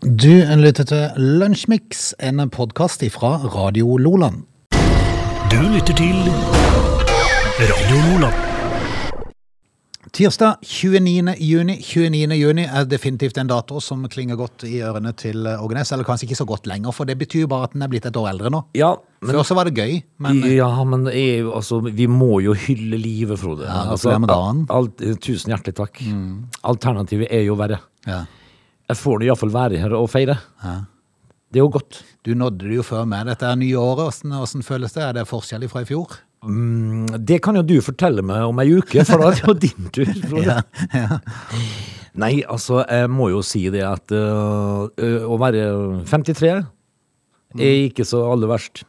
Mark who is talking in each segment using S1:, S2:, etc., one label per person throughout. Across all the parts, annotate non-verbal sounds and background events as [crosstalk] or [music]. S1: Du lytter til Lunsjmix, en podkast fra Radio Loland.
S2: Du lytter til Radio Nordland.
S1: Tirsdag 29. juni. 29. juni er definitivt en dato som klinger godt i ørene til Ågenes. Eller kanskje ikke så godt lenger, for det betyr jo bare at den er blitt et år eldre nå.
S3: Ja, men,
S1: Før så var det gøy, men
S3: ja, men det er jo- altså, vi må jo hylle livet, Frode. Altså,
S1: Ja, gratulerer med dagen. Mm.
S3: alt, tusen hjertelig takk. Alternativet er jo verre.
S1: ja.
S3: Jeg får det iallfall være her og feire. Det er jo godt.
S1: du nådde det jo før meg. Dette er nye året. Hvordan, hvordan føles det? Er det forskjell fra i fjor?
S3: Mm, Det kan jo du fortelle meg om ei uke, for da er det jo din
S1: [laughs]
S3: tur, Frode. Nei, altså, jeg må jo si det at øh, øh, å være 53 er ikke så aller verst.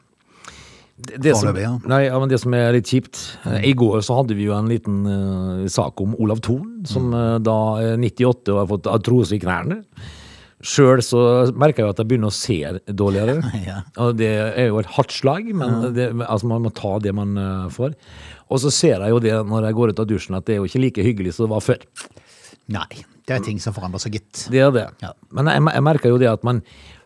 S3: Det, det som,
S1: Mm. Foreløpig, ja. Mm.
S3: Nei, ja, men det som er litt kjipt eh, I går så hadde vi jo en liten eh, sak om Olav Thon,
S1: Mm.
S3: som eh, da er 98 og har fått artrose i knærne. Sjøl så merker jeg jo at jeg begynner å se dårligere.
S1: [laughs] Ja.
S3: Og det er jo et hardt slag, men det, altså man må ta det man eh, får. Og så ser jeg jo det når jeg går ut av dusjen, at det er jo ikke like hyggelig som det var før.
S1: Nei. Det er ting som forandrer seg, gitt.
S3: Det er det.
S1: Ja.
S3: Men jeg, jeg merker jo det at man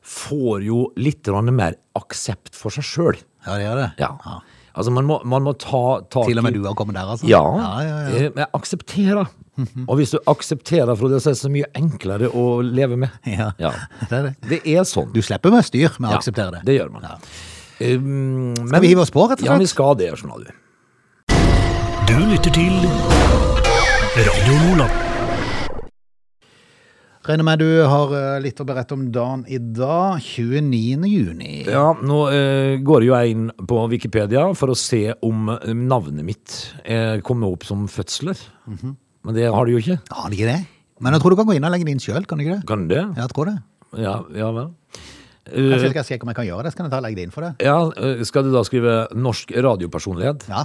S3: får jo litt grann mer aksept for seg sjøl.
S1: Ja, det gjør det.
S3: Ja. Altså, man må, man må ta tak
S1: Til og med
S3: i-
S1: du har kommet der, altså?
S3: Ja.
S1: ja, ja, Mhm.
S3: Eh, Jeg aksepterer. Og hvis du aksepterer, Frode, så er det så mye enklere å leve med.
S1: ja. ja. Det er det.
S3: Det er sånn.
S1: Du slipper med styr med å
S3: Ja,
S1: akseptere det.
S3: Det gjør man.
S1: Ja.
S3: Um, men-
S1: vi hive oss på, rett og
S3: Ja, vi
S1: slett?
S3: skal det, skjønner du.
S2: Du lytter til Radio Nordland.
S1: Regner med du har eh, litt å berette om dagen i dag, 29. juni.
S3: Ja, nå eh, går jo jeg inn på Wikipedia for å se om eh, navnet mitt eh, kommer opp som fødsler.
S1: Mhm.
S3: Men det har det jo ikke.
S1: Har det ikke det? Men jeg tror du kan gå inn og legge det inn sjøl, kan du ikke det?
S3: Kan det?
S1: Ja, jeg tror det.
S3: Ja, ja vel.
S1: Kanskje jeg
S3: Eh,
S1: skal sjekke om jeg kan gjøre det, så kan jeg ta og legge det inn for deg.
S3: ja, eh, skal du da skrive norsk radiopersonlighet?
S1: Ja,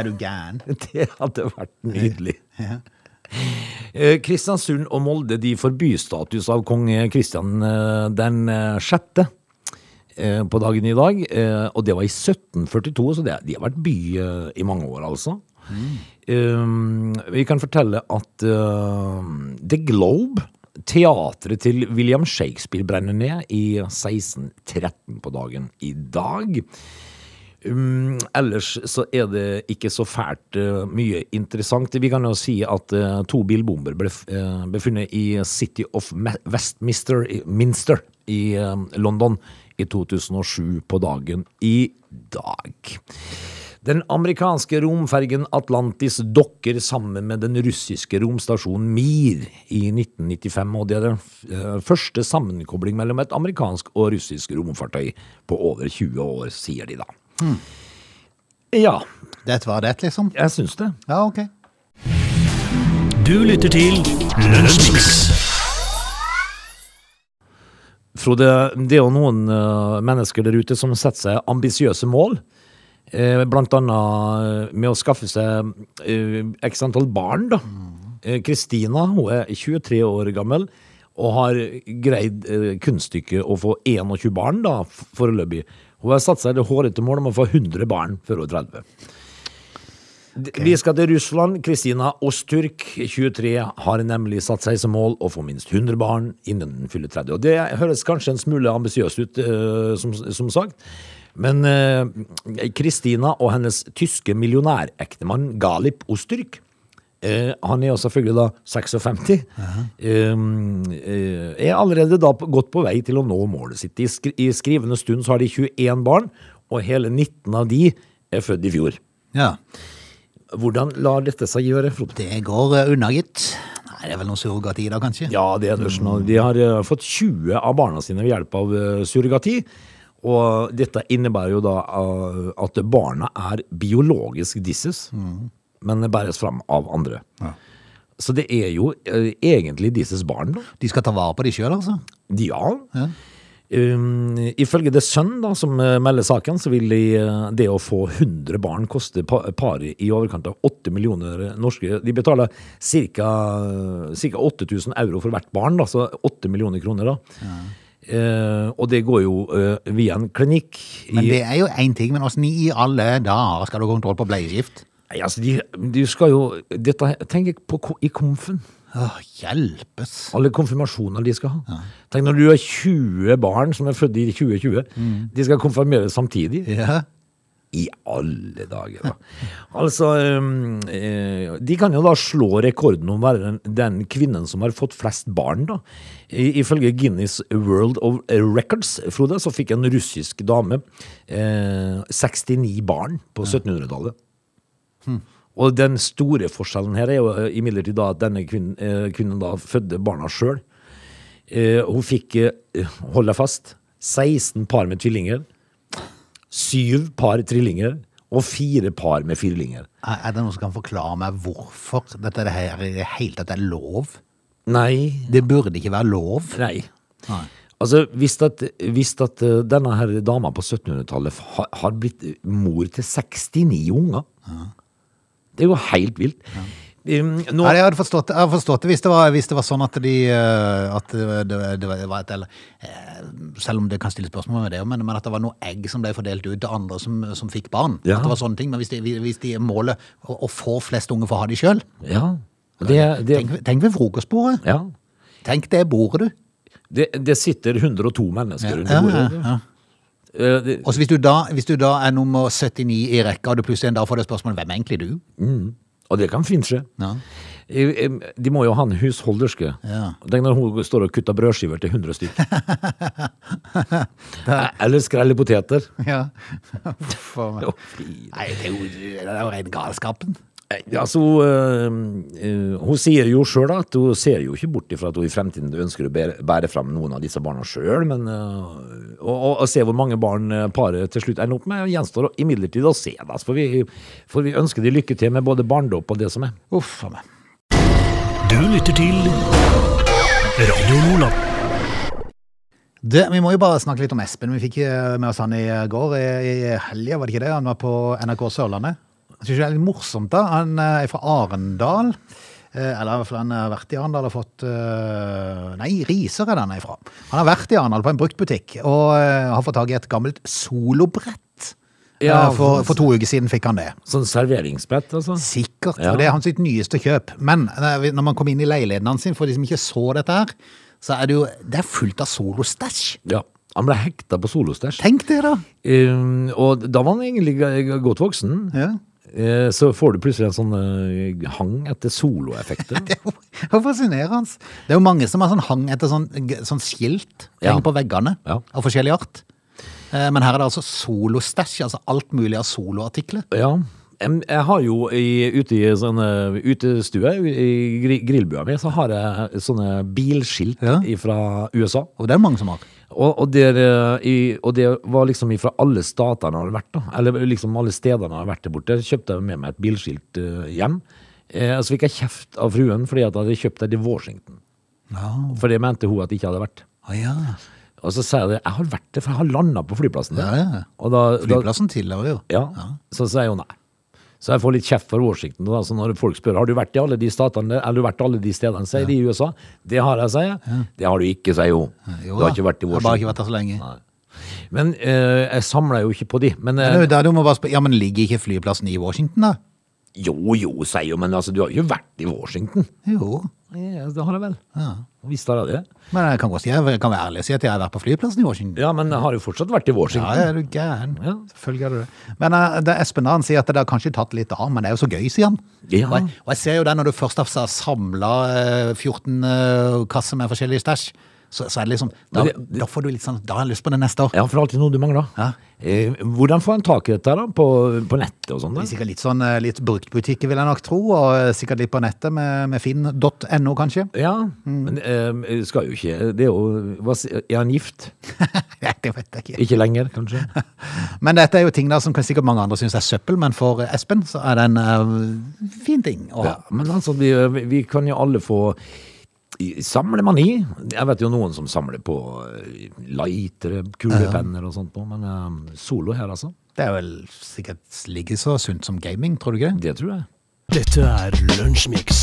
S1: er du gæren? [laughs]
S3: Det hadde vært nydelig. Eh, Kristiansund og Molde de får bystatus av kong Kristian eh, den eh, sjette eh, på dagen i dag. eh, Og det var i 1742, så det, de har vært by eh, i mange år, altså. Eh, Vi kan fortelle at eh, The Globe, teatret til William Shakespeare, brenner ned i 1613 på dagen i dag. Mm, ellers så er det ikke så fælt eh, mye interessant. Vi kan jo si at eh, to bilbomber ble f- eh, befunnet i City of Ma- Westminster i, Minster, i eh, London i 2007 på dagen i dag. Den amerikanske romfergen Atlantis dokker sammen med den russiske romstasjonen Mir i 1995, og det er den eh, første sammenkobling mellom et amerikansk og russisk romfartøy på over 20 år, sier de da. Ja,
S1: Dette var det, liksom.
S3: jeg syns det.
S1: Ja, ok.
S2: Du lytter til Lunsjmix.
S3: Frode, det er jo noen eh, mennesker der ute som setter seg ambisiøse mål. eh, Blant annet eh, med å skaffe seg eh, x antall barn, da. Eh, Kristina, hun er 23 år gammel og har greid eh, kunststykket å få 21 barn, da, f- foreløpig. Hun har satt seg det hårete mål om å få 100 barn før hun er 30. D- Vi skal til Russland. Kristina Osturk, 23, har nemlig satt seg som mål å få minst 100 barn innen hun fyller 30. Og det høres kanskje en smule ambisiøst ut, eh, som, som sagt. Men eh, Kristina og hennes tyske millionærektemann Galip Osturk eh, han er jo selvfølgelig da 56. eh, eh, er allerede da på- godt på vei til å nå målet sitt. I, skri I skrivende stund så har de 21 barn, og hele 19 av de er født i fjor.
S1: Ja.
S3: Hvordan lar dette seg gjøre, Frode?
S1: Det går eh, unna, gitt. Nei, det er vel noe surrogati da, kanskje?
S3: Ja, det er Andersen. og De har eh, fått 20 av barna sine ved hjelp av eh, surrogati. Og dette innebærer jo da eh, at barna er biologisk disses, men bæres fram av andre. Så det er jo eh, egentlig disses barn, da.
S1: De skal ta vare på de sjøl, altså?
S3: De, ja. Um, ifølge The Sun, da, som eh, melder saken, så vil de, eh, det å få 100 barn koste pa- paret i overkant av 8 millioner norske De betaler ca. 8000 euro for hvert barn, da, så 8 millioner kroner. da. Eh, og det går jo eh, via en klinikk. i-
S1: Men det er jo én ting, men åssen i alle dager skal du ha kontroll på bleieskift?
S3: Nei, altså, de, de skal jo Dette tenker jeg på ko- i komfen.
S1: Åh, hjelpes.
S3: Alle konfirmasjoner de skal ha. Tenk når du har 20 barn som er født i 2020. De skal konfirmeres samtidig.
S1: Mm. Ja.
S3: I alle dager, da. Altså um, eh, De kan jo da slå rekorden om å være den, den kvinnen som har fått flest barn, da. I, ifølge Guinness World of Records, Frode, så fikk en russisk dame eh, 69 barn på 1700-tallet. Og den store forskjellen her er jo eh, imidlertid da at denne kvinnen, eh, kvinnen da fødte barna sjøl. Eh, hun fikk, eh, hold deg fast, 16 par med tvillinger, 7 par trillinger og 4 par med firlinger.
S1: Er er det noen som kan forklare meg hvorfor dette er det her i det hele tatt er lov?
S3: Nei.
S1: Det burde ikke være lov.
S3: Nei.
S1: Nei.
S3: Altså, hvis at, hvis at eh, denne her dama på 1700-tallet har, har blitt eh, mor til 69 unger Det er jo helt vilt. Um, nå-
S1: Nei, jeg hadde forstått det, jeg hadde forstått det hvis, det var, hvis det var sånn at de eh, At det, det- det var et eller, eh, Selv om det kan stilles spørsmål med det, men, men at det var noe egg som ble fordelt ut til andre som, som fikk barn.
S3: Ja.
S1: At det var sånne ting, Men hvis de, hvis de målet å, å få flest unge for å ha de sjøl
S3: ja. Det, det,
S1: tenk, tenk ved frokostbordet.
S3: ja.
S1: Tenk det bordet, du.
S3: Det, det sitter 102 mennesker rundt
S1: Ja,
S3: bordet.
S1: ja, ja.
S3: Eh, det-
S1: Og så hvis, du da- hvis du da er nummer 79 i rekka, og du plutselig en dag får det spørsmålet hvem er egentlig du?
S3: Og det kan fint skje.
S1: Ja.
S3: Eh, eh, De må jo ha en husholderske.
S1: Ja.
S3: Tenk når hun står og kutter brødskiver til 100 stykker. Eller skreller poteter.
S1: [laughs] Ja. For meg.
S3: Å, fy.
S1: Nei, det er jo, det er jo ren galskapen.
S3: Eh, Altså, hun, eh, eh, hun sier jo sjøl at hun ser jo ikke bort ifra at hun i fremtiden ønsker å bære, bære fram noen av disse barna sjøl, men eh, og, og, og se hvor mange barn eh, paret til slutt ender opp med, gjenstår imidlertid å se. da. for, vi, for vi ønsker de lykke til med både barndåp og det som er.
S1: Uff a meg.
S2: Du lytter til Radio Lola.
S1: Det, vi må jo bare snakke litt om Espen. Vi fikk eh, med oss han i går, i, i helga, var det ikke det? Han var på NRK Sørlandet. Jeg synes det er litt morsomt, da. Han eh, er fra Arendal. Eh, Eller i hvert fall han har vært i Arendal og fått eh, Nei, Risør er det han er fra. Han har vært i Arendal på en bruktbutikk og eh, har fått tak i et gammelt solobrett.
S3: Ja,
S1: Eh, for, for to uker siden fikk han det.
S3: Sånn serveringsbrett, altså.
S1: Sikkert,
S3: Ja.
S1: for det er hans sitt nyeste kjøp. Men eh, når man kom inn i leiligheten hans, for de som ikke så dette her, så er det jo det er fullt av solostæsj.
S3: Ja. Han ble hekta på solostæsj.
S1: Tenk det, da!
S3: Um, og da var han egentlig g- g- godt voksen.
S1: Ja. [laughs]
S3: Eh, Så får du plutselig en sånn eh, hang etter
S1: [laughs]
S3: soloeffekter.
S1: Det er jo det er jo fascinerende. Det er jo mange som har sånn hang etter sånn, g- sånn skilt
S3: Ja.
S1: heng på veggene
S3: Ja.
S1: av forskjellig art. Eh, Men her er det altså solostæsj, altså alt mulig av soloartikler.
S3: Ja. Em, Jeg har jo i, ute i sånne utestue, i gri- grillbua mi, så har jeg sånne bilskilt
S1: Ja.
S3: fra USA.
S1: Og det er det mange som har.
S3: Og, og, der, eh, i, og det var liksom fra alle statene jeg har vært, da. Eller liksom alle stedene jeg har vært der borte. Kjøpte jeg med meg et bilskilt eh, hjem. Eh, så fikk jeg kjeft av fruen fordi at jeg hadde kjøpt det i Washington.
S1: Ja.
S3: For det mente hun at jeg ikke hadde vært.
S1: Å ja.
S3: Og så sier jeg det, jeg har vært der, for jeg har landa på flyplassen. der.
S1: Ja, ja.
S3: Og da, da,
S1: Flyplassen tilhører jo.
S3: ja. Så sier hun nei. Så jeg får litt kjeft for Washington. Da, så når folk spør har du vært i alle de statene, der? eller har du vært i alle de stedene, sier de i USA. Det har jeg, sier jeg. Det har du ikke, sier hun.
S1: Jo
S3: du
S1: da.
S3: har ikke vært i
S1: Jeg har bare
S3: Washington.
S1: ikke vært der så lenge.
S3: Nei. Men eh, jeg samler jo ikke på de. Men
S1: Men
S3: eh,
S1: det er jo der du må bare spørre, ja, men ligger ikke flyplassen i Washington, da?
S3: jo, jo, sier hun. Men altså, du har jo vært i Washington.
S1: Jo.
S3: Ja, det har jeg vel. Visst har jeg det.
S1: Men jeg kan godt si, jeg kan være ærlig og si at jeg har vært på flyplassen i Washington.
S3: Ja, men jeg har jo fortsatt vært i
S1: Ja,
S3: Washington.
S1: er du gæren.
S3: Ja.
S1: Selvfølgelig er du det. Men eh, det Espen da, han sier at det har kanskje tatt litt av, men det er jo så gøy, sier han.
S3: Ja.
S1: Og, jeg, og jeg ser jo det når du først har samla 14 eh, kasser med forskjellige stæsj, så, så er det liksom da,
S3: Men det-
S1: da får du litt sånn Da har jeg lyst på det neste år.
S3: Ja, for det er alltid noe du mangler.
S1: Ja.
S3: Eh, hvordan får en tak i dette her da? På, på nettet og sånn?
S1: Det er
S3: da?
S1: Sikkert litt sånn eh, litt bruktbutikker, vil jeg nok tro, og eh, sikkert litt på nettet med, med finn.no, kanskje. [laughs]
S3: Ja, men eh, skal jo ikke Det er jo hva, si- Er han gift?
S1: Nei, det vet jeg ikke.
S3: Ikke lenger, kanskje?
S1: Men dette er jo ting da som kan sikkert mange andre synes er søppel, men for Espen så er det en eh, fin ting å ha.
S3: Ja, men altså, vi, vi kan jo alle få Samlemani. Jeg vet jo noen som samler på eh, lightere, kulepenner og sånt, nå, men eh, solo her, altså.
S1: Det er vel sikkert like så sunt som gaming, tror du ikke det?
S3: Det tror jeg.
S2: Dette er Lunsjmix.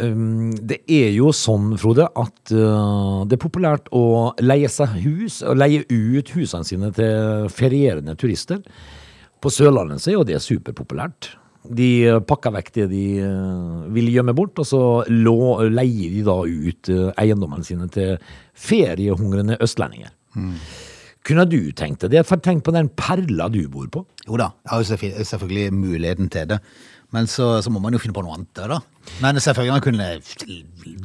S3: Um, det er jo sånn, Frode, at uh, det er populært å leie seg hus, og leie ut husene sine til ferierende turister. På Sørlandet så er jo det superpopulært. De eh, pakka vekk det de eh, ville gjemme bort, og så lå, leier de da ut eh, eiendommene sine til feriehungrende østlendinger. Kunne du tenkt deg det? For Tenk på den perla du bor på.
S1: Jo da, jeg har jo selvfø- selvfølgelig muligheten til det. Men så, så må man jo finne på noe annet, da. Men selvfølgelig man kunne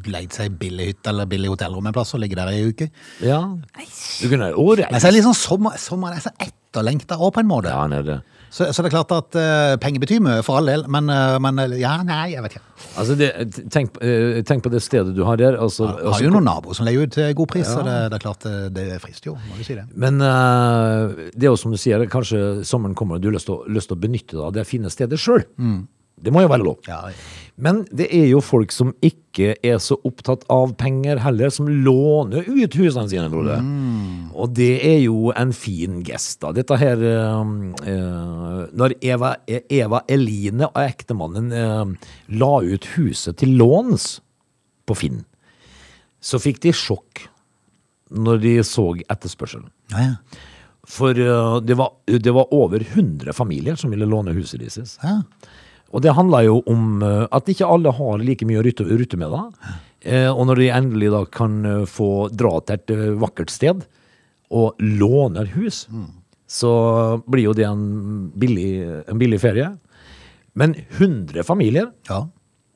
S1: leid seg billig hytte eller billig hotellrom en plass og ligge der ei uke.
S3: Ja. Du kunne året.
S1: Men så er det litt sånn sommer, sommeren er så etterlengta òg, på en måte.
S3: Ja, nei, det.
S1: Så, så det er klart at eh, penger betyr mye, for all del, men, eh, men eh, ja, nei, jeg vet ikke.
S3: Altså, det, tenk, eh, tenk på det stedet du har der. Altså,
S1: Jeg har jo noen naboer som leier ut til god pris, så det, det er klart eh, det frister jo, må du si det.
S3: Men eh, det er jo som du sier, kanskje sommeren kommer og du har lyst til å, lyst til å benytte deg av det fine stedet sjøl. Det må jo være lov.
S1: Mm. Ja,
S3: Men det er jo folk som ikke er så opptatt av penger heller, som låner ut husene sine, Frode. Og det er jo en fin gest, da. Dette her eh, eh, Når Eva, Eva Eline og ektemannen eh, la ut huset til låns på Finn, så fikk de sjokk når de så etterspørselen.
S1: ja, ja.
S3: For eh, det var, det var over 100 familier som ville låne huset deres.
S1: Ja.
S3: Og det handler jo om eh, at ikke alle har like mye å rutte, rutte med. da. Eh, Og når de endelig da kan eh, få dra til et eh, vakkert sted og låner hus,
S1: Mm.
S3: så blir jo det en billig, en billig ferie. Men 100 familier
S1: ja.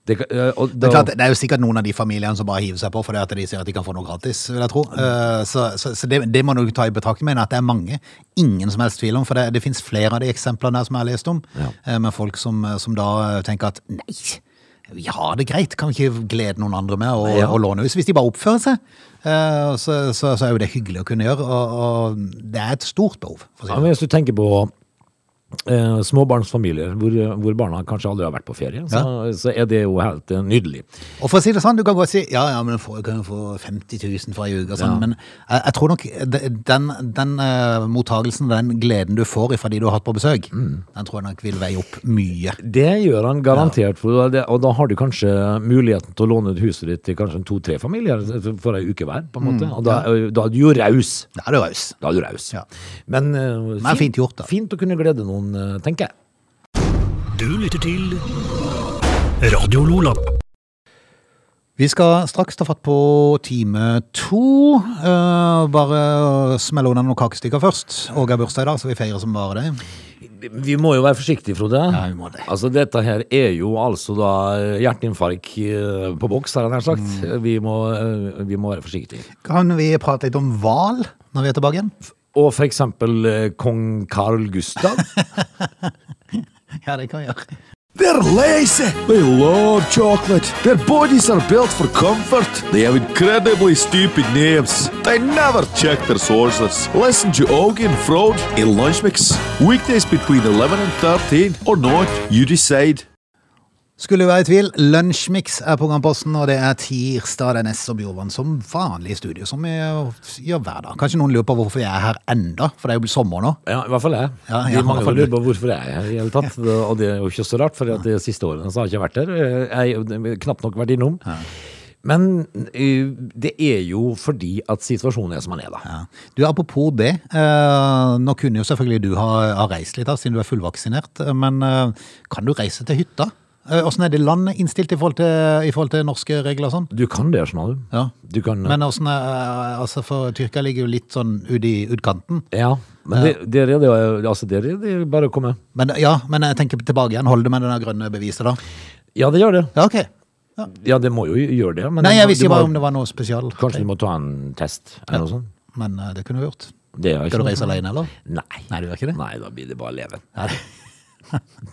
S3: det, kan- eh, og
S1: Det
S3: da,
S1: er, klart, det er jo sikkert noen av de familiene som bare hiver seg på fordi at de sier at de kan få noe gratis, vil jeg tro.
S3: Mm.
S1: Eh, Så, så, så det, det må du ta i betraktning, mener jeg, at det er mange. Ingen som helst tvil om, for det, det finnes flere av de eksemplene her som jeg har lest om,
S3: Ja.
S1: eh, med folk som, som da eh, tenker at nei, vi har det greit, kan vi ikke glede noen andre med å,
S3: Ja.
S1: å låne hus? Hvis de bare oppfører seg, eh, så, så, så er jo det hyggelig å kunne gjøre, og, og det er et stort behov. For å si
S3: Ja,
S1: det.
S3: men hvis du tenker på eh, småbarnsfamilier hvor, hvor barna kanskje aldri har vært på ferie, så, så er det jo helt eh, nydelig.
S1: Og for å si det sånn, du kan godt si ja, ja, men du får- kan jo få 50 000 for ei uke og sånn, men jeg, jeg tror nok de- den, den eh, mottagelsen, den gleden du får fra de du har hatt på besøk, den tror jeg nok vil veie opp mye.
S3: Det gjør han garantert, for det, og da har du kanskje muligheten til å låne ut huset ditt til kanskje en to-tre familier for ei uke hver, på en måte. Og da, da er du jo raus.
S1: Da er du raus.
S3: Da er du raus.
S1: Mm, Ja.
S3: Men, eh,
S1: Men fint gjort, da.
S3: Fint å kunne glede noen, eh, tenker jeg.
S2: Du lytter til Radio Lola.
S1: Vi skal straks ta fatt på time to. Eh, bare smelle unna noen kakestykker først. Åge har bursdag i dag, så vi feirer som bare det.
S3: Vi må jo være forsiktige, Frode.
S1: Ja, vi må det.
S3: Altså, dette her er jo altså da hjerteinfarkt eh, på boks, har jeg nær sagt.
S1: Mm.
S3: Vi, må, eh, vi må være forsiktige.
S1: Kan vi prate litt om hval når vi er tilbake igjen?
S3: Og for eksempel eh, kong Carl Gustav.
S1: Ja, det kan vi gjøre.
S4: They're lazy. They love chocolate. Their bodies are built for comfort. They have incredibly stupid names. They never check their sources. Listen to Augie and Frode in Lunch Mix. Weekdays between 11 and 13 or not, you decide.
S1: Skulle du være i tvil, Lunsjmix er programposten, og det er tirsdag. Det er Ness og Bjorvann som vanlig i studio, som vi gjør hver dag. Kanskje noen lurer på hvorfor jeg er her enda, for det er jo sommer nå.
S3: Ja, i hvert fall jeg.
S1: Ja,
S3: De
S1: ja, i
S3: mange
S1: hvert fall
S3: som lurer på hvorfor jeg er her i hele tatt. det- Og det er jo ikke så rart, for de siste årene så har jeg ikke vært der. Jeg har knapt nok vært innom. Men eh, det er jo fordi at situasjonen er som den er, da.
S1: Ja. Du, Apropos det, eh, nå kunne jo selvfølgelig du ha, ha reist litt, da, siden du er fullvaksinert, eh, men eh, kan du reise til hytta? Eh, Åssen er det landet innstilt i forhold til, i forhold til norske regler og sånn?
S3: Du kan det, skjønner du.
S1: Ja.
S3: Du kan,
S1: Men åssen er eh, Altså, for Tyrkia ligger jo litt sånn ute i utkanten.
S3: ja, men det, der er det jo- altså, der er det jo bare å komme.
S1: Men ja, men jeg tenker tilbake igjen. Holder det med det der grønne beviset, da?
S3: Ja, det gjør det.
S1: Ja, ok. Ja.
S3: Ja, det må jo gjøre det. Men
S1: Nei,
S3: du
S1: jeg
S3: må-
S1: visste
S3: du
S1: jo bare
S3: må-
S1: om det var noe spesial.
S3: Kanskje du må ta en test eller noe sånt.
S1: Men eh, det kunne du gjort.
S3: Det er jo ikke
S1: Skal du
S3: noe-
S1: reise alene, eller?
S3: Nei.
S1: Nei, du gjør ikke det?
S3: Nei, da blir det bare å leve.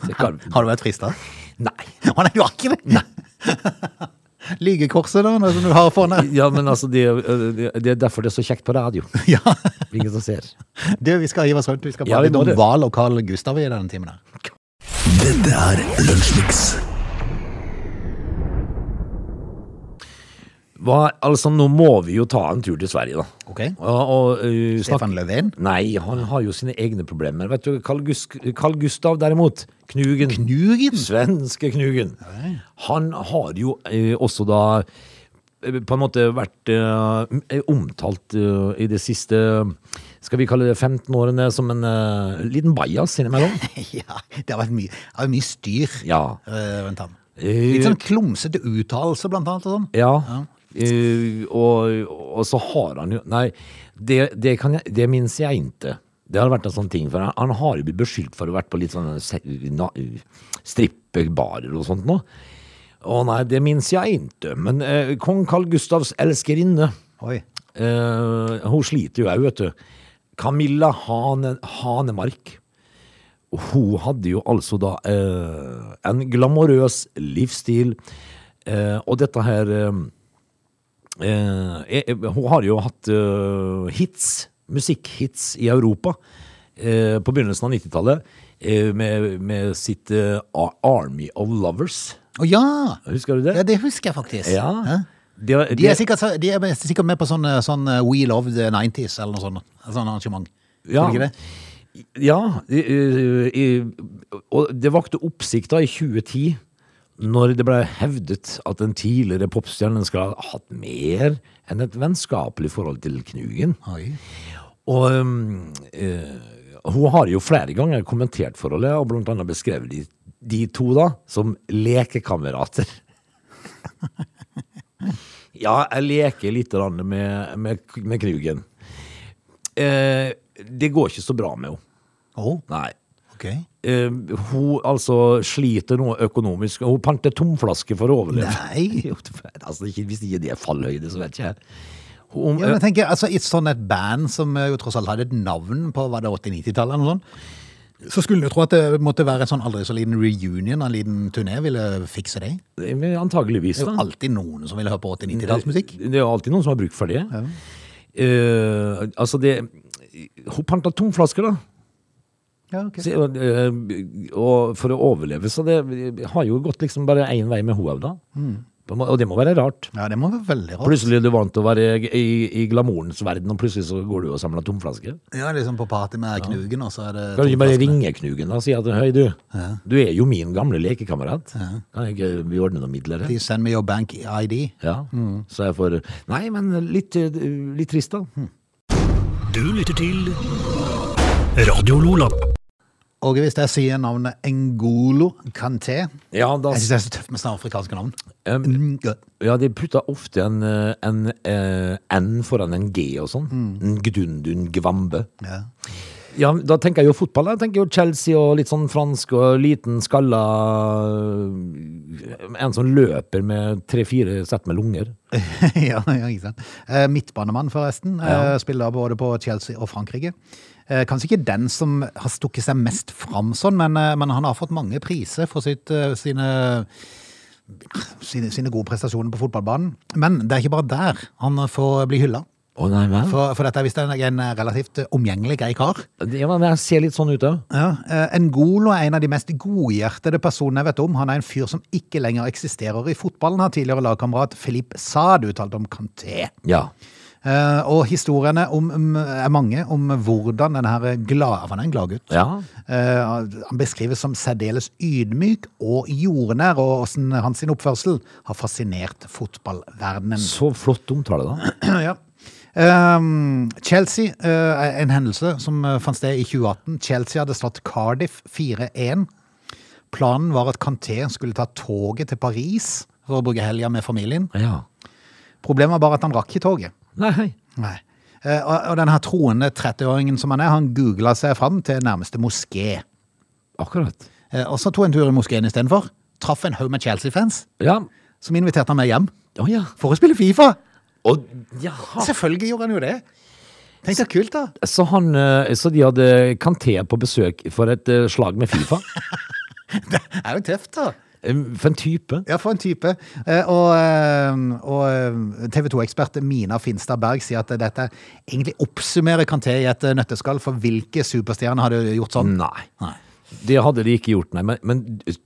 S3: Det
S1: [laughs]
S3: kan,
S1: Har du vært frista?
S3: nei.
S1: Å nei, du har ikke det! [laughs] Lygekorset, da, noe som du har foran deg.
S3: [laughs] Ja, men altså, det, det- det er derfor det er så kjekt på radio.
S1: [laughs] Ja.
S3: Ingen som ser.
S1: Du, vi skal hive oss rundt. Vi skal
S3: Ja,
S1: prate
S3: vi
S1: litt
S3: må
S1: om
S3: det.
S1: Hval og Carl Gustav i denne timen her.
S2: Dette er Lunsjmix.
S3: Hva, altså, nå må vi jo ta en tur til Sverige, da.
S1: Ok?
S3: Og, og eh, snakke-
S1: Stefan Löfven.
S3: Nei, han har jo sine egne problemer. Vet du, Carl, Gus Carl Gustav derimot, Knugen.
S1: Knugen!
S3: Svenske Knugen. Han har jo eh, også da eh, på en måte vært eh, m- eh, omtalt eh, i det siste skal vi kalle det 15-årene som en eh, liten bajas
S1: [laughs]
S3: innimellom.
S1: [laughs] ja, det har vært mye, det har vært mye styr
S3: Ja.
S1: eh, rundt ham.
S3: Eh,
S1: Litt sånn klumsete uttalelser, blant annet. Og sånn.
S3: Ja. Eh, og, og så har han jo Nei, det, det, kan jeg, det minnes jeg ikke. Det har vært en sånn ting, for han, han har jo blitt beskyldt for å ha vært på litt sånne se- na- strippebarer og sånt nå. Å nei, det minnes jeg ikke. Men eh, kong Carl Gustavs elskerinne
S1: Oi.
S3: Eh, hun sliter jo òg, vet du. Camilla Hane, Hanemark. Hun hadde jo altså da eh, en glamorøs livsstil. Eh, og dette her eh, eh, eh, Hun har jo hatt eh, hits, musikkhits i Europa eh, på begynnelsen av 90-tallet eh, med, med sitt eh, Ar- Army of Lovers.
S1: Å ja!
S3: Husker du det?
S1: ja! Det husker jeg faktisk.
S3: Ja.
S1: Hæ?
S3: Det var-
S1: De er
S3: det-
S1: sikkert, de er sikkert med på sånn, sånn Wheel of the 90s eller noe sånt. Sånn arrangement.
S3: Ja.
S1: Tror du ikke det?
S3: Ja, i- i- i- og det vakte oppsikt da i 2010, når det ble hevdet at den tidligere popstjernen skal ha hatt mer enn et vennskapelig forhold til Knugen.
S1: Oi.
S3: Og um, eh, hun har jo flere ganger kommentert forholdet, og blant annet beskrevet de, de to da, som lekekamerater. [laughs] ja, jeg leker litt grann med, med, med Knugen. Eh, det går ikke så bra med henne.
S1: Å,
S3: Nei.
S1: Oh, ok.
S3: Eh, hun altså sliter noe økonomisk. Hun panter tomflaske for å overleve.
S1: Nei.
S3: [laughs] Jo, det- altså, ikke, hvis ikke det er fallhøyde, så vet ikke jeg. Hun,
S1: Ja, men jeg tenker, altså, I et sånn et band som eh, jo tross alt hadde et navn på var det 80-90-tallet, eller noe sånt, så skulle du tro at det måtte være en sånn aldri så liten reunion, en liten turné, ville fikse det.
S3: eh, men antageligvis.
S1: Det er
S3: da.
S1: jo alltid noen som vil høre på 80-90-tallsmusikk.
S3: Sånn. Eh, Det er jo alltid noen som har bruk for det. Eh, altså, det Hun panta tomflasker, da.
S1: Ja, ok.
S3: Så, eh, og for å overleve, så det har jo gått liksom bare én vei med henne, da.
S1: Mm.
S3: På en må- Og det må være rart.
S1: Ja, det må være veldig rart.
S3: Plutselig er du vant til å være i, i glamourens verden, og plutselig så går du og samler tomflasker.
S1: Ja, liksom på party med Knugen, og så er det
S3: Kan du ikke bare
S1: tomflaskene.
S3: ringe Knugen da, og si at høy du, du er jo min gamle lekekamerat. Kan jeg ikke vi ordne noen midler? her?»
S1: Please send me your bank E ID.
S3: Ja,
S1: Mm.
S3: så jeg får, nei, men litt, eh, litt trist da.
S1: Hm.
S2: Du lytter til Radio Lola.
S1: Og hvis jeg sier navnet Engolo Kanté
S3: Ja, da,
S1: Jeg syns det er så tøft med sånne afrikanske navn.
S3: em,
S1: Mm,
S3: ja, de putter ofte en, eh, en eh, N foran en G og sånn. Gdundun Gvambe.
S1: Ja.
S3: Ja, da tenker jeg jo fotball. Jeg tenker jo Chelsea og litt sånn fransk og liten skalla eh, En som løper med tre-fire sett med lunger.
S1: [laughs] ja, ja, ikke sant. Eh, Midtbanemann, forresten. eh, Spiller både på Chelsea og Frankrike. Eh, Kanskje ikke den som har stukket seg mest fram sånn, men, eh, men han har fått mange priser for sitt, eh, sine, sine, sine gode prestasjoner på fotballbanen. Men det er ikke bare der han får bli hylla.
S3: Å nei, men.
S1: For, for dette er visst en, en relativt omgjengelig grei kar.
S3: Det, ja, men jeg ser litt sånn ut òg.
S1: Ja, eh, N'Golo er en av de mest godhjertede personene jeg vet om. Han er en fyr som ikke lenger eksisterer i fotballen, har tidligere lagkamerat Filip Saad uttalt om Kanté.
S3: Ja.
S1: Eh, og historiene om, om, er mange om hvordan denne her glad, for han er en glad gutt.
S3: Ja.
S1: Eh, han beskrives som særdeles ydmyk og jordnær, og hvordan hans sin oppførsel har fascinert fotballverdenen.
S3: Så flott omtale, da.
S1: [clears throat] ja. Ehm, Chelsea, eh, en hendelse som eh, fant sted i 2018. Chelsea hadde slått Cardiff 4-1. Planen var at Canté skulle ta toget til Paris for å bruke helga med familien.
S3: [clears throat] Ja.
S1: Problemet var bare at han rakk ikke toget.
S3: Nei.
S1: Nei. Eh, Og, og denne troende 30-åringen som han er, han googla seg fram til nærmeste moské.
S3: Akkurat.
S1: Eh, Og så tok han en tur i moskeen istedenfor. Traff en haug med Chelsea-fans,
S3: Ja.
S1: som inviterte han med hjem
S3: Å ja.
S1: for å spille Fifa.
S3: Og, jaha.
S1: Selvfølgelig gjorde han jo det. Tenk så kult, da.
S3: Så, han, eh, så de hadde Kanté på besøk for et eh, slag med Fifa? [laughs]
S1: Det er jo tøft, da.
S3: Em, For en type.
S1: Ja, for en type. Eh, Og, eh, og eh, TV 2-ekspert Mina Finstad Berg sier at dette egentlig oppsummerer Kanté i et eh, nøtteskall, for hvilke superstjerner hadde gjort sånn?
S3: Nei.
S1: Nei.
S3: Det hadde de ikke gjort, nei. Men, men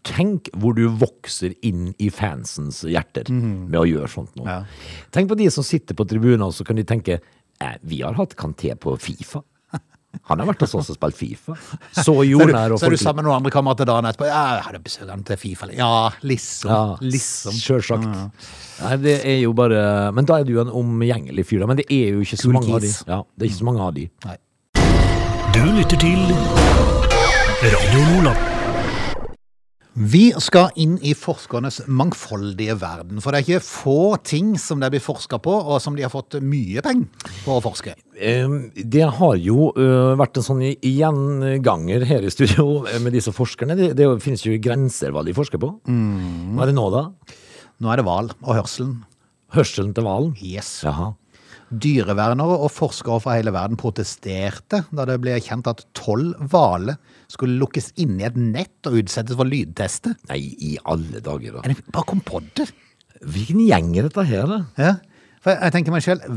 S3: tenk hvor du vokser inn i fansens hjerter med å gjøre sånt nå.
S1: Mhm. Ja.
S3: Tenk på de som sitter på tribunen, og så kan de tenke eh, Vi har hatt Kanté på Fifa. Han har vært hos oss og spilt Fifa.
S1: [laughs]
S3: Så
S1: Så er,
S3: jordnær
S1: du,
S3: og
S1: så er du
S3: folkelig.
S1: sammen med noen andre kamerater dagen etterpå. Ja, jeg hadde besøk han til Fifa. Ja, liksom.
S3: Ja,
S1: liksom.
S3: Sjølsagt. Nei, det er jo bare Men da er du en omgjengelig fyr, da. Men det er jo ikke så
S1: Cool
S3: mange av de.
S1: kids.
S3: Ja, det er ikke så mange av de.
S1: Nei.
S2: Du lytter til Radio Lola.
S1: Vi skal inn i forskernes mangfoldige verden. For det er ikke få ting som det blir forska på, og som de har fått mye penger på å forske.
S3: Ehm, Det har jo øh, vært en sånn i- gjenganger her i studio eh, med disse forskerne. Det, det finnes jo grenser hva de forsker på.
S1: Mm.
S3: Hva er det nå, da?
S1: Nå er det hval og hørselen.
S3: Hørselen til hvalen?
S1: Yes.
S3: Jaha.
S1: Dyrevernere og forskere fra hele verden protesterte da det ble kjent at tolv hvaler skulle lukkes inn i et nett og utsettes for lydtester.
S3: Nei, i alle dager, da.
S1: Er det bare kom på det?
S3: Hvilken gjeng er dette her, da?
S1: Ja. For jeg tenker meg selv,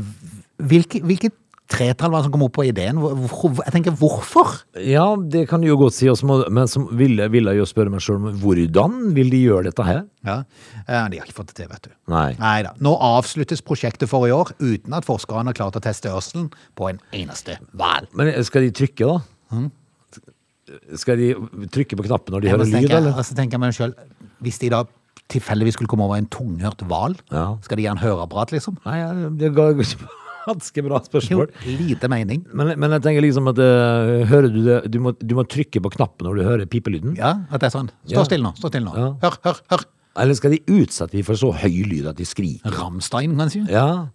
S1: hvilke, hvilke tretall var det som kom opp på ideen? Hvor, hvor, jeg tenker, hvorfor?
S3: Ja, det kan du jo godt si, og så må- men så ville, ville jeg jo spørre meg sjøl om hvordan vil de gjøre dette her?
S1: Ja, eh, De har ikke fått det til, vet du.
S3: Nei.
S1: Neida. Nå avsluttes prosjektet for i år uten at forskerne har klart å teste hørselen på en eneste hval.
S3: Men eh, skal de trykke, da? Skal de trykke på knappen når de
S1: Og
S3: hører
S1: så
S3: lyd,
S1: tenker Hm? jeg-
S3: eller?
S1: og så tenker jeg meg selv, hvis de da tilfeldigvis skulle komme over en tunghørt hval,
S3: Ja.
S1: skal de gi en høreapparat, liksom?
S3: Nei, ja, det ga [laughs] ganske bra
S1: Jo,
S3: spørsmål.
S1: lite mening.
S3: Men, men jeg tenker liksom at eh, hører du det du må, du må trykke på knappen når du hører pipelyden.
S1: Ja, at det er sånn. Stå
S3: Ja.
S1: stille nå, stå stille nå.
S3: Ja.
S1: Hør, hør, hør.
S3: Eller skal de utsette de for så høy lyd at de skriker?
S1: Ramstein, kan jeg si.
S3: Ja.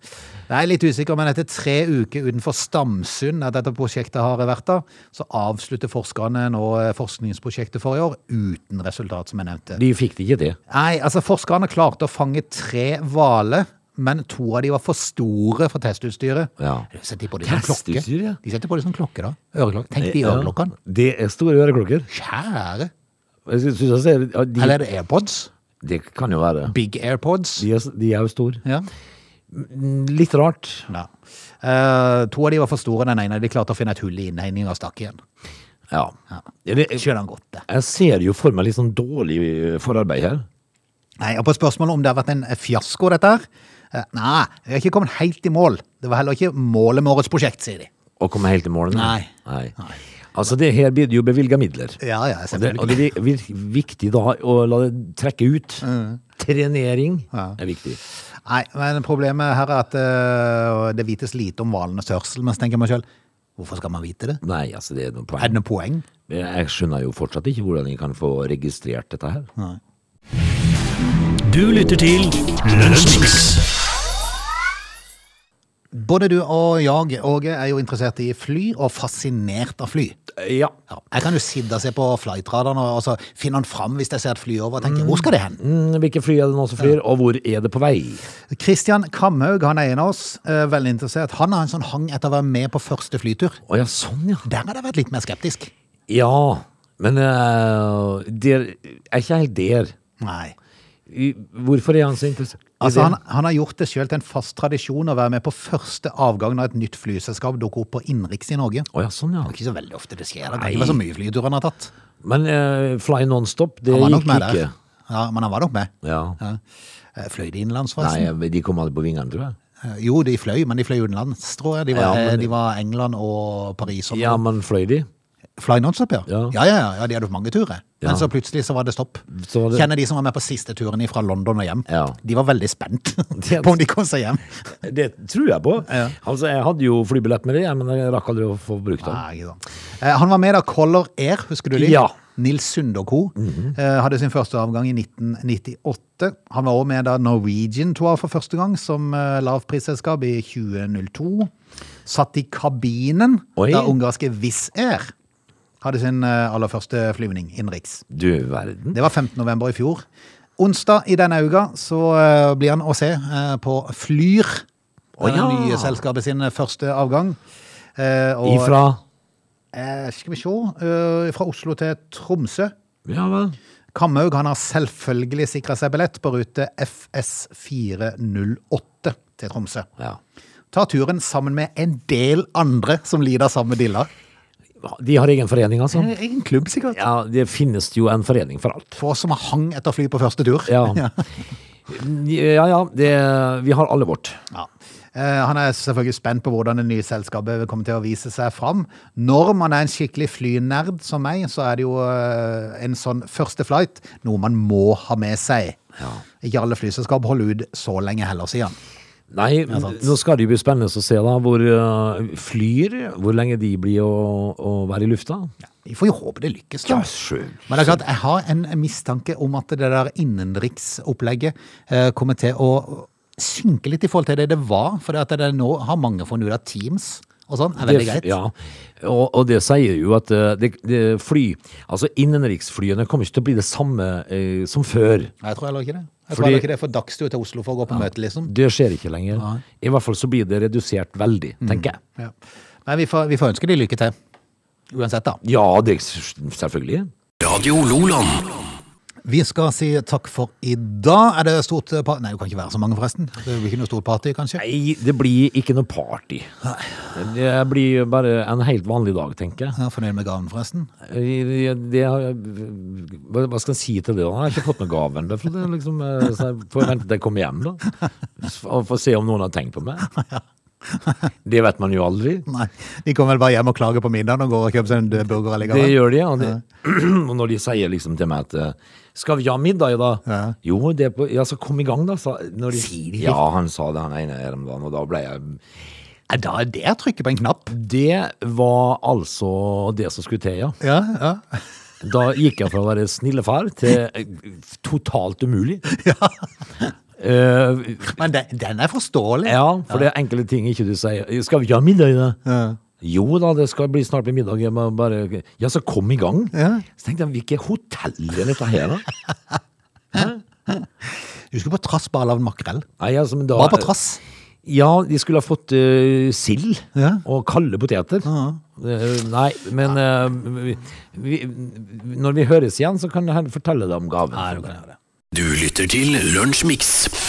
S1: Jeg er litt usikker, men etter tre uker utenfor Stamsund at dette prosjektet har vært da, så avslutter forskerne nå eh, forskningsprosjektet for i år uten resultat, som jeg nevnte.
S3: De fikk det ikke til.
S1: Nei, altså forskerne klarte å fange tre hvaler, men to av de var for store for testutstyret.
S3: Ja.
S1: Setter de på de som klokke?
S3: Testutstyr, ja.
S1: De setter på de som klokke, da. Øreklokke. Tenk de
S3: Ja.
S1: øreklokkene.
S3: Det er store øreklokker.
S1: Kjære.
S3: Jeg synes- synes jeg ser, ja, de,
S1: Eller er det AirPods?
S3: det kan jo være.
S1: Big AirPods?
S3: De er, s- de er jo store.
S1: Ja. Mm,
S3: Litt rart.
S1: ja. Eh, to av de var for store, den ene de klarte å finne et hull i innhegningen og stakk igjen.
S3: Ja.
S1: Ja.
S3: Eller, jeg-
S1: Skjønner han godt det.
S3: jeg ser jo for meg litt sånn dårlig forarbeid her.
S1: Nei, og på spørsmålet om det har vært en fiasko, dette her eh, Nei, vi har ikke kommet helt i mål. Det var heller ikke målet med årets prosjekt, sier de.
S3: Å komme helt i mål?
S1: Nei.
S3: Nei.
S1: Nei.
S3: Altså, det her blir det jo bevilga midler.
S1: Ja, ja,
S3: Og det,
S1: selvfølgelig.
S3: og det vir- vir- viktig da å la det trekke ut.
S1: Mm.
S3: Trenering er viktig.
S1: Nei, men problemet her er at eh, det vites lite om hvalenes hørsel. Men så tenker jeg meg selv, hvorfor skal man vite det?
S3: Nei, altså det er noe
S1: Er
S3: poeng.
S1: det noe poeng?
S3: Jeg skjønner jo fortsatt ikke hvordan jeg kan få registrert dette her.
S2: Du lytter til Lunsjmix.
S1: Både du og jeg, Åge, er jo interessert i fly og fascinert av fly.
S3: Ja.
S1: Ja. Jeg kan jo sitte og se på flightradaren og og så finne han fram hvis jeg ser et fly over. og tenker, Hvor skal det hen?
S3: Mm, Hvilke fly er det nå som flyr, og hvor er det på vei?
S1: Kristian Kamhaug han er en av oss, eh, veldig interessert. Han har en sånn hang etter å være med på første flytur.
S3: Å ja, sånn ja.
S1: Der har jeg vært litt mer skeptisk.
S3: Ja, men eh, der, jeg er ikke helt der.
S1: Nei.
S3: I- Hvorfor er han så interessert? i
S1: Altså,
S3: det?
S1: han, han har gjort det sjøl til en fast tradisjon å være med på første avgang når et nytt flyselskap dukker opp på innenriks i Norge.
S3: Å ja, sånn ja.
S1: Det er ikke så veldig ofte det skjer. Det kan ikke være så mye flytur han har tatt.
S3: Men eh, Fly Nonstop, det
S1: Han var nok
S3: gikk
S1: med
S3: ikke.
S1: der. Ja, men han var nok med.
S3: Ja.
S1: Ja. sånn. Eh, Fløy de innenlands, forresten?
S3: Nei, de kom aldri på vingene, tror jeg.
S1: Eh, Jo, de fløy, men de fløy utenlands, tror jeg. De var,
S3: Ja, men-
S1: eh, de var England og Paris. Og
S3: Ja, men fløy de?
S1: Fly nonstop, ja.
S3: Ja.
S1: Ja, ja, ja, ja. De hadde mange turer.
S3: Ja.
S1: Men så plutselig så var det stopp.
S3: Så var det-
S1: Kjenner de som var med på siste turen fra London og hjem.
S3: Ja.
S1: De var veldig
S3: [laughs]
S1: spent [laughs] på om de kom seg hjem.
S3: Det tror jeg på.
S1: Ja.
S3: Altså, jeg hadde jo flybillett med det, jeg, men jeg rakk aldri å få brukt den.
S1: Nei, ikke sant. Eh, Han var med da Color Air, husker du det?
S3: Ja. Mhm.
S1: Nils Sund og co. Eh, Hadde sin første avgang i 1998. Han var også med da Norwegian tog av for første gang, som eh, lavprisselskap i 2002. Satt i kabinen
S3: Oi.
S1: da ungarske Wizz Air hadde sin eh, aller første flyvning innenriks.
S3: Du verden.
S1: Det var 15. november i fjor. Onsdag i denne uka så eh, blir han å se eh, på Flyr.
S3: Å,
S1: Det er Det
S3: ja.
S1: nye selskapet sin første avgang. Eh, og-
S3: Ifra
S1: Eh, skal vi se. eh, fra Oslo til Tromsø.
S3: Ja vel.
S1: Kamhaug han har selvfølgelig sikra seg billett på rute FS408 til Tromsø.
S3: Ja.
S1: Tar turen sammen med en del andre som lider av samme dilla.
S3: De har egen forening, altså?
S1: Eh, Egen klubb, sikkert.
S3: Ja, det finnes jo en forening for alt.
S1: For oss som hang etter fly på første tur.
S3: Ja.
S1: [laughs]
S3: Ja ja, det, vi har alle vårt.
S1: Ja. Eh, Han er selvfølgelig spent på hvordan det nye selskapet kommer til å vise seg fram. Når man er en skikkelig flynerd som meg, så er det jo eh, en sånn første flight noe man må ha med seg.
S3: Ja.
S1: Ikke alle flyselskap holder ut så lenge heller, sier han.
S3: Nei,
S1: sant.
S3: nå skal det jo bli spennende å se da hvor eh, flyr, hvor lenge de blir å, å være i lufta.
S1: Vi får jo håpe det lykkes, da.
S3: sjøl.
S1: Men det er klart, jeg har en mistanke om at det der innenriksopplegget eh, kommer til å synke litt i forhold til det det var. For det at det nå har mange funnet ut at Teams og sånn er veldig
S3: Det-
S1: greit.
S3: Ja, og, og det sier jo at eh, det, det fly, altså innenriksflyene kommer ikke til å bli det samme eh, som før.
S1: Nei, Jeg tror heller ikke det. Jeg tror
S3: Fordi-
S1: heller ikke det er for dagstur til Oslo for å gå på møte, liksom.
S3: Det skjer ikke lenger. I hvert fall så blir det redusert veldig,
S1: Mm.
S3: tenker jeg.
S1: Ja. Men vi får, vi får ønske de lykke til. Uansett, da.
S3: Ja, det selvfølgelig.
S2: Radio Loland.
S1: Vi skal si takk for i dag. Er det stort party? Nei, det kan ikke være så mange, forresten. Det blir ikke noe stort party, kanskje?
S3: Nei, det blir ikke noe party. Det blir bare en helt vanlig dag, tenker jeg.
S1: Jeg er fornøyd med gaven, forresten.
S3: Eh, Det, har- hva hva skal jeg si til det? da? Jeg har ikke fått noe gave ennå. for det er Liksom, eh, så jeg får vente til jeg kommer hjem, da. Og får se om noen har tenkt på meg. Det vet man jo aldri.
S1: Nei, De kommer vel bare hjem og klager på middagen og går og kjøper seg en død burger
S3: Det
S1: allikevel.
S3: gjør de, ja. Og, det, [clears throat] og når de sier liksom til meg at eh, Skal vi ha middag i dag?
S1: Ja.
S3: Jo, det er på Ja, så kom i gang, da. Sa, når de, sier de Ja, han sa det, han ene her om dagen, og da ble jeg
S1: Er Da er det å trykke på en knapp.
S3: Det var altså det som skulle til, ja.
S1: Ja, ja.
S3: Da gikk jeg fra å være snillefar til eh,
S1: [laughs]
S3: totalt umulig. Eh,
S1: Men den, den er forståelig.
S3: ja, for det er enkelte ting ikke du sier. Skal vi ikke ha middag i dag?
S1: Ja.
S3: Jo da, det skal bli snart bli middag. Jeg må bare Ja, så kom i gang.
S1: Ja.
S3: Så tenkte jeg, hvilket hotell er dette her, da?
S1: Husker du på trass bare lagd makrell?
S3: Nei, altså, men da
S1: Bare på trass.
S3: Ja, de skulle ha fått eh, sild
S1: Ja.
S3: og kalde poteter. Eh, nei, men eh, vi, vi, når vi høres igjen, så kan jeg fortelle deg om gaven.
S2: Du lytter til Lunsjmix.